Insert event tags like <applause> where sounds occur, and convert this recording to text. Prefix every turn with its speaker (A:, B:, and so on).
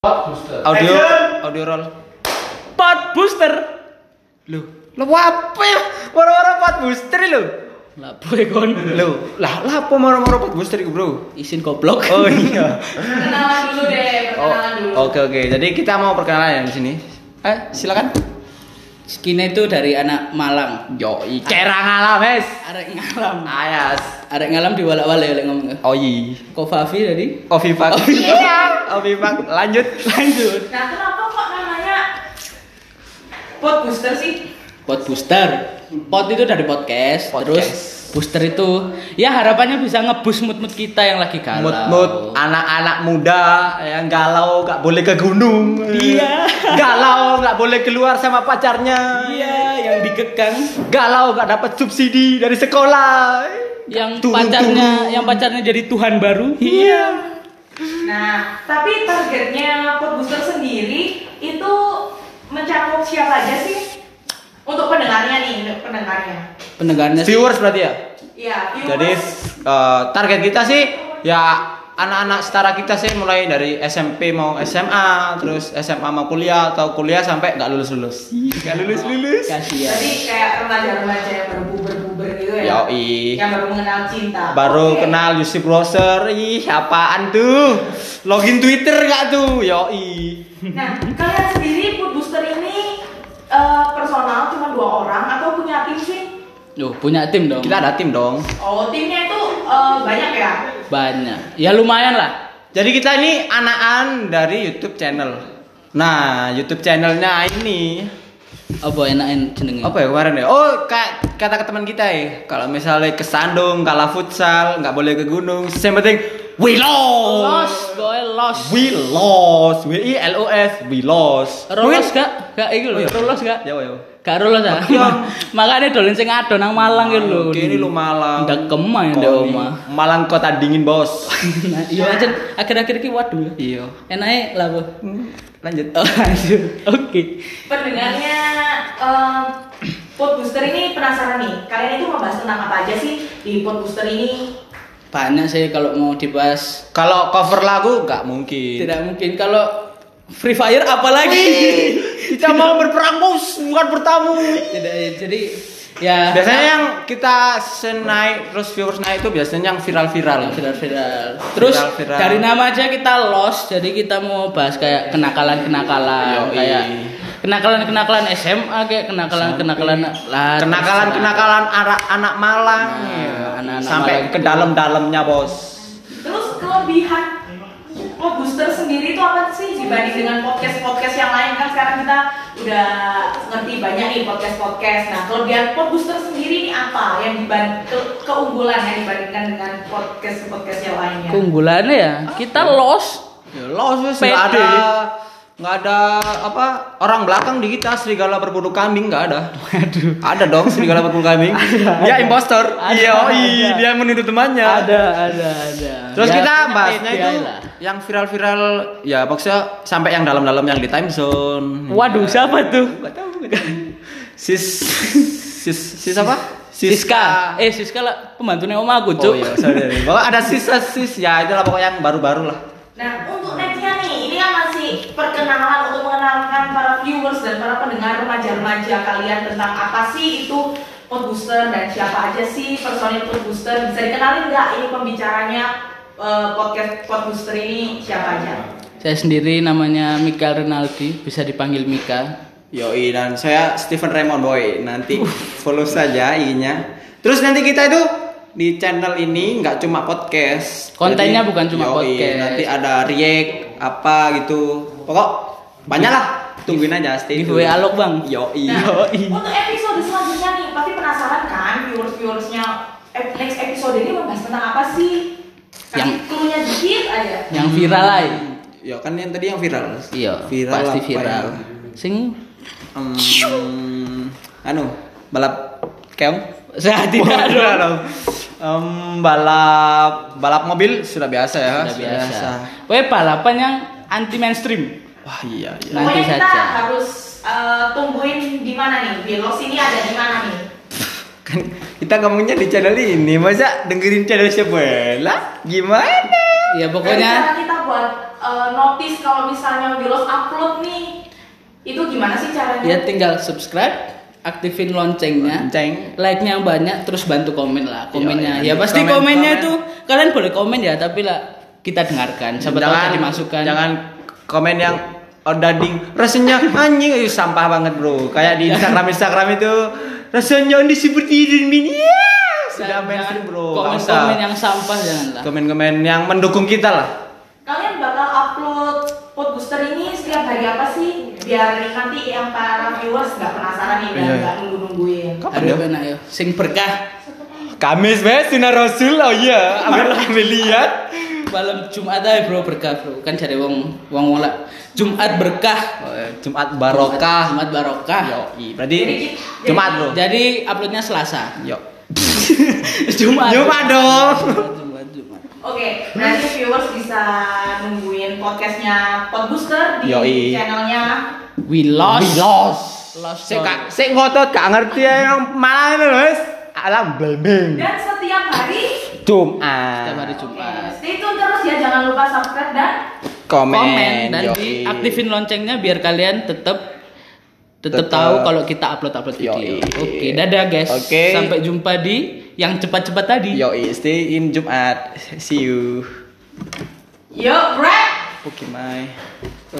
A: Pak Booster.
B: Audio
C: Action.
B: audio roll.
D: Pot booster.
B: Loh, lo apa ya? Moro-moro pot booster lo.
D: Lah <laughs> boy kon.
B: Lo, lah lah apa moro-moro pot booster iku, Bro?
D: Isin goblok.
B: Oh iya.
E: Perkenalan dulu deh,
B: Oh,
E: perkenalan dulu.
B: oke oke. Jadi kita mau perkenalan ya di sini. Eh, silakan.
D: Skinnya itu dari anak Malang.
B: Yo, cerang alam, Mes.
D: Arek ngalam.
B: Ayas.
D: Arek ngalam diwalak-walak ya lek ngomong.
B: Oi.
D: Kofafi tadi.
B: Ovipak.
D: Oh,
B: <laughs>
D: iya.
B: Ovipak, lanjut.
D: Lanjut.
E: Nah, kenapa kok namanya pot booster sih?
D: Pot booster. Pot itu dari podcast,
B: Podcast.
D: terus booster itu ya harapannya bisa ngebus mood-mood kita yang lagi galau.
B: Mut-mut anak-anak muda yang galau nggak boleh ke gunung.
D: Iya.
B: Galau nggak boleh keluar sama pacarnya.
D: Iya, yang dikekang,
B: Galau nggak dapat subsidi dari sekolah.
D: yang
B: Turun,
D: pacarnya,
B: turun.
D: yang pacarnya jadi Tuhan baru.
B: Iya.
E: Nah, tapi targetnya pot booster sendiri itu mencakup siapa aja sih? Untuk pendengarnya nih, untuk pendengarnya.
D: Pendengarnya sih
B: Viewers berarti ya.
E: Iya, viewers.
B: Jadi eh, target kita sih ya anak-anak setara kita sih mulai dari SMP mau SMA, terus SMA mau kuliah atau kuliah sampai nggak lulus-lulus. Nggak lulus-lulus.
D: kasihan.
E: Jadi kayak remaja-remaja yang baru puber-puber gitu ya.
B: Yoi.
E: Yang baru mengenal cinta.
B: Baru
E: Oke.
B: kenal Yusuf Browser, ih apaan tuh? Login Twitter nggak tuh? Yoi.
E: Nah, kalian sendiri food booster ini eh, personal cuma dua orang atau punya tim sih?
D: Loh, punya tim dong.
B: Kita ada tim dong.
E: Oh, timnya itu eh, banyak ya?
D: Banyak. Ya lumayan lah.
B: Jadi kita ini anakan dari YouTube channel. Nah, YouTube channelnya ini
D: Apa enakin jenenge?
B: apa ya kemarin ya? Oh, kayak kata ke teman kita ya, kalau misalnya kesandung, kalah futsal, nggak boleh ke gunung. Yang penting we
D: Los,
B: lost.
D: boy los.
B: We lost. W I L O S. We lost.
D: Rolos gak? Gak iku lho, rolos gak?
B: Ya, ya.
D: Gak rolos ah.
B: Iya.
D: <laughs> Makanya dolen sing ado nang Malang iki lho.
B: Kini lu Malang.
D: Ndak kemah ya ndek
B: Koni.
D: omah.
B: Malang kota dingin, Bos.
D: Nah, Iya aja akhir-akhir iki waduh. ya.
B: iya. Hmm,
D: Enake lah Bu.
B: Lanjut.
D: Oh, <laughs> lanjut. Oke.
E: Pendengarnya eh, food booster ini penasaran nih. Kalian itu membahas tentang apa aja sih di food booster ini?
D: Banyak sih kalau mau dibahas.
B: Kalau cover lagu nggak mungkin.
D: Tidak mungkin kalau Free Fire apalagi.
B: <laughs> Kita mau berperang, Bos, bukan bertamu.
D: Tidak ya, jadi ya
B: Biasanya yang kita sen naik terus viewers naik itu biasanya yang viral-viral.
D: viral viral terus
B: Viral, viral.
D: dari nama aja kita lost jadi kita mau bahas kayak kenakalan kenakalan
B: Yoi.
D: kayak kenakalan kenakalan SMA kayak kenakalan kenakalan lah
B: Kenakalan-kenakalan anak anak Malang.
D: Nah,
B: Iya.
D: anak-anak
B: sampai
D: Malang
B: ke
D: itu.
B: dalam-dalamnya, Bos.
E: Terus kelebihan Food booster sendiri itu apa sih dibanding dengan podcast-podcast yang lain kan sekarang kita udah ngerti banyak nih podcast-podcast. Nah, kelebihan food booster sendiri ini apa yang dibanding keunggulan yang dibandingkan dengan podcast-podcast yang lainnya?
D: keunggulannya ya kita lost
B: Ya, los wes
D: Pede.
B: nggak ada nggak ada apa orang belakang di kita serigala berbulu kambing nggak ada. Aduh. Ada dong serigala berbulu kambing. dia impostor.
D: Ada,
B: Iya, oi,
D: ada.
B: dia menuntut temannya.
D: ada ada ada
B: Terus
D: Ya,
B: kita
D: punya
B: bahasnya
D: KPI
B: itu
D: lah.
B: yang viral-viral ya maksudnya sampai yang dalam-dalam yang di time zone.
D: waduh siapa tuh
B: Sis sis sis apa?
D: Siska eh Siska lah pembantunya om aku
B: Oh
D: cuk
B: iya, sorry. sorry. Pokoknya ada sisa sis ya itulah pokoknya yang baru-baru lah.
E: Nah, untuk Nadia nih, ini kan masih perkenalan untuk mengenalkan para viewers dan para pendengar remaja-remaja kalian tentang apa sih itu Food Booster dan siapa aja sih personil Food Booster. Bisa dikenalin nggak ini pembicaranya eh, podcast Food Booster ini siapa aja?
D: saya sendiri namanya Mikael Renaldi bisa dipanggil Mika
B: Yoi dan saya Stephen Raymond Boy nanti follow saja IG-nya. Terus nanti kita itu di channel ini nggak cuma podcast.
D: Kontennya bukan cuma podcast.
B: Nanti ada react apa gitu. Pokok banyak lah. Tungguin aja stay
D: Giveaway
B: tune.
D: alok, Bang.
B: Yoi.
E: Nah,
D: Yoi.
E: untuk episode selanjutnya nih, pasti penasaran kan viewers-viewersnya eh, next episode ini membahas tentang apa sih? Kasih
D: Yang-
E: clue-nya dikit aja.
D: yang viral lah
B: Ya kan yang tadi yang viral.
D: iya
B: Viral
D: pasti
B: apa
D: viral
B: ya?
D: sing
B: Hmm, anu balap keong. <laughs>
D: Saya tidak
B: Tidak
D: dong.
B: dong. Em, balap balap mobil sudah biasa ya.
D: Sudah biasa. Weh balapan yang anti mainstream.
B: Wah iya iya.
D: Nanti
E: Pokoknya kita
D: saja.
E: harus eh, tungguin di mana nih? Bilos ini ada di mana nih?
B: kan kita ngomongnya di channel ini masa dengerin channel sebelah gimana
D: Ya
E: Dan
D: pokoknya
E: cara kita buat eh, notice kalau misalnya Wilos upload nih itu gimana sih caranya?
D: Ya tinggal subscribe, aktifin
B: Iya.
D: loncengnya,
B: Lonceng.
D: like-nya yang banyak, terus bantu komen lah
B: Iya,
D: komennya.
B: iya.
D: ya pasti
B: Komen,
D: komennya
B: komen.
D: itu kalian boleh komen ya, tapi lah kita dengarkan. Siapa tahu
B: jangan
D: tadi masukan.
B: Jangan komen yang ordading. Rasanya anjing itu sampah banget, Bro. Kayak di Instagram Instagram itu rasanya ini seperti ini. Ya, sudah
D: Jangan-
B: mainstream, Bro. Nggak usah.
D: Komen-komen yang sampah janganlah.
B: Komen-komen yang mendukung kita lah.
E: Kalian bakal upload pod booster ini setiap hari apa sih? Biar nanti yang para viewers nggak penasaran nih dan
B: Iya, iya.
E: nggak nunggu-nungguin.
B: Kapan
D: Aduh,
B: ya?
D: enak ya. Sing berkah
B: Kamis wes Sunnah Rasul. Oh iya, ambil ambil lihat.
D: malam Jumat aja bro berkah bro kan cari wong wong wong lah Jumat berkah
B: Eh, Jumat barokah.
D: Jumat barokah
B: Yoi, berarti
E: Jadi kita-
B: Jumat, Bro.
D: jadi uploadnya Selasa
B: Yo.
D: <laughs> Jumat
B: Jumat dong.
D: Jumat Jumat
E: Oke,
D: Nah.
E: nanti viewers bisa nungguin podcastnya Pod Booster di
B: Yoi.
E: channelnya.
D: We
B: We
D: lost.
B: lost.
D: Lost.
B: Sik kak, sik ngotot gak ngerti ya yang malah ini wes. Alam blembing.
E: Dan setiap hari,
B: Jumat.
D: Setiap hari Jumat.
E: oke, stay tune terus ya, jangan lupa subscribe dan
B: Komen,
D: Komen dan
B: yoi.
D: diaktifin loncengnya biar kalian tetap tetap
B: Tetep.
D: tahu kalau kita upload upload video.
B: Yoi.
D: Oke, dadah guys.
B: Oke.
D: Sampai jumpa di yang cepat-cepat tadi.
B: Yoi, stay in Jumat. See you.
E: Yo, Brad!
B: Pokemon.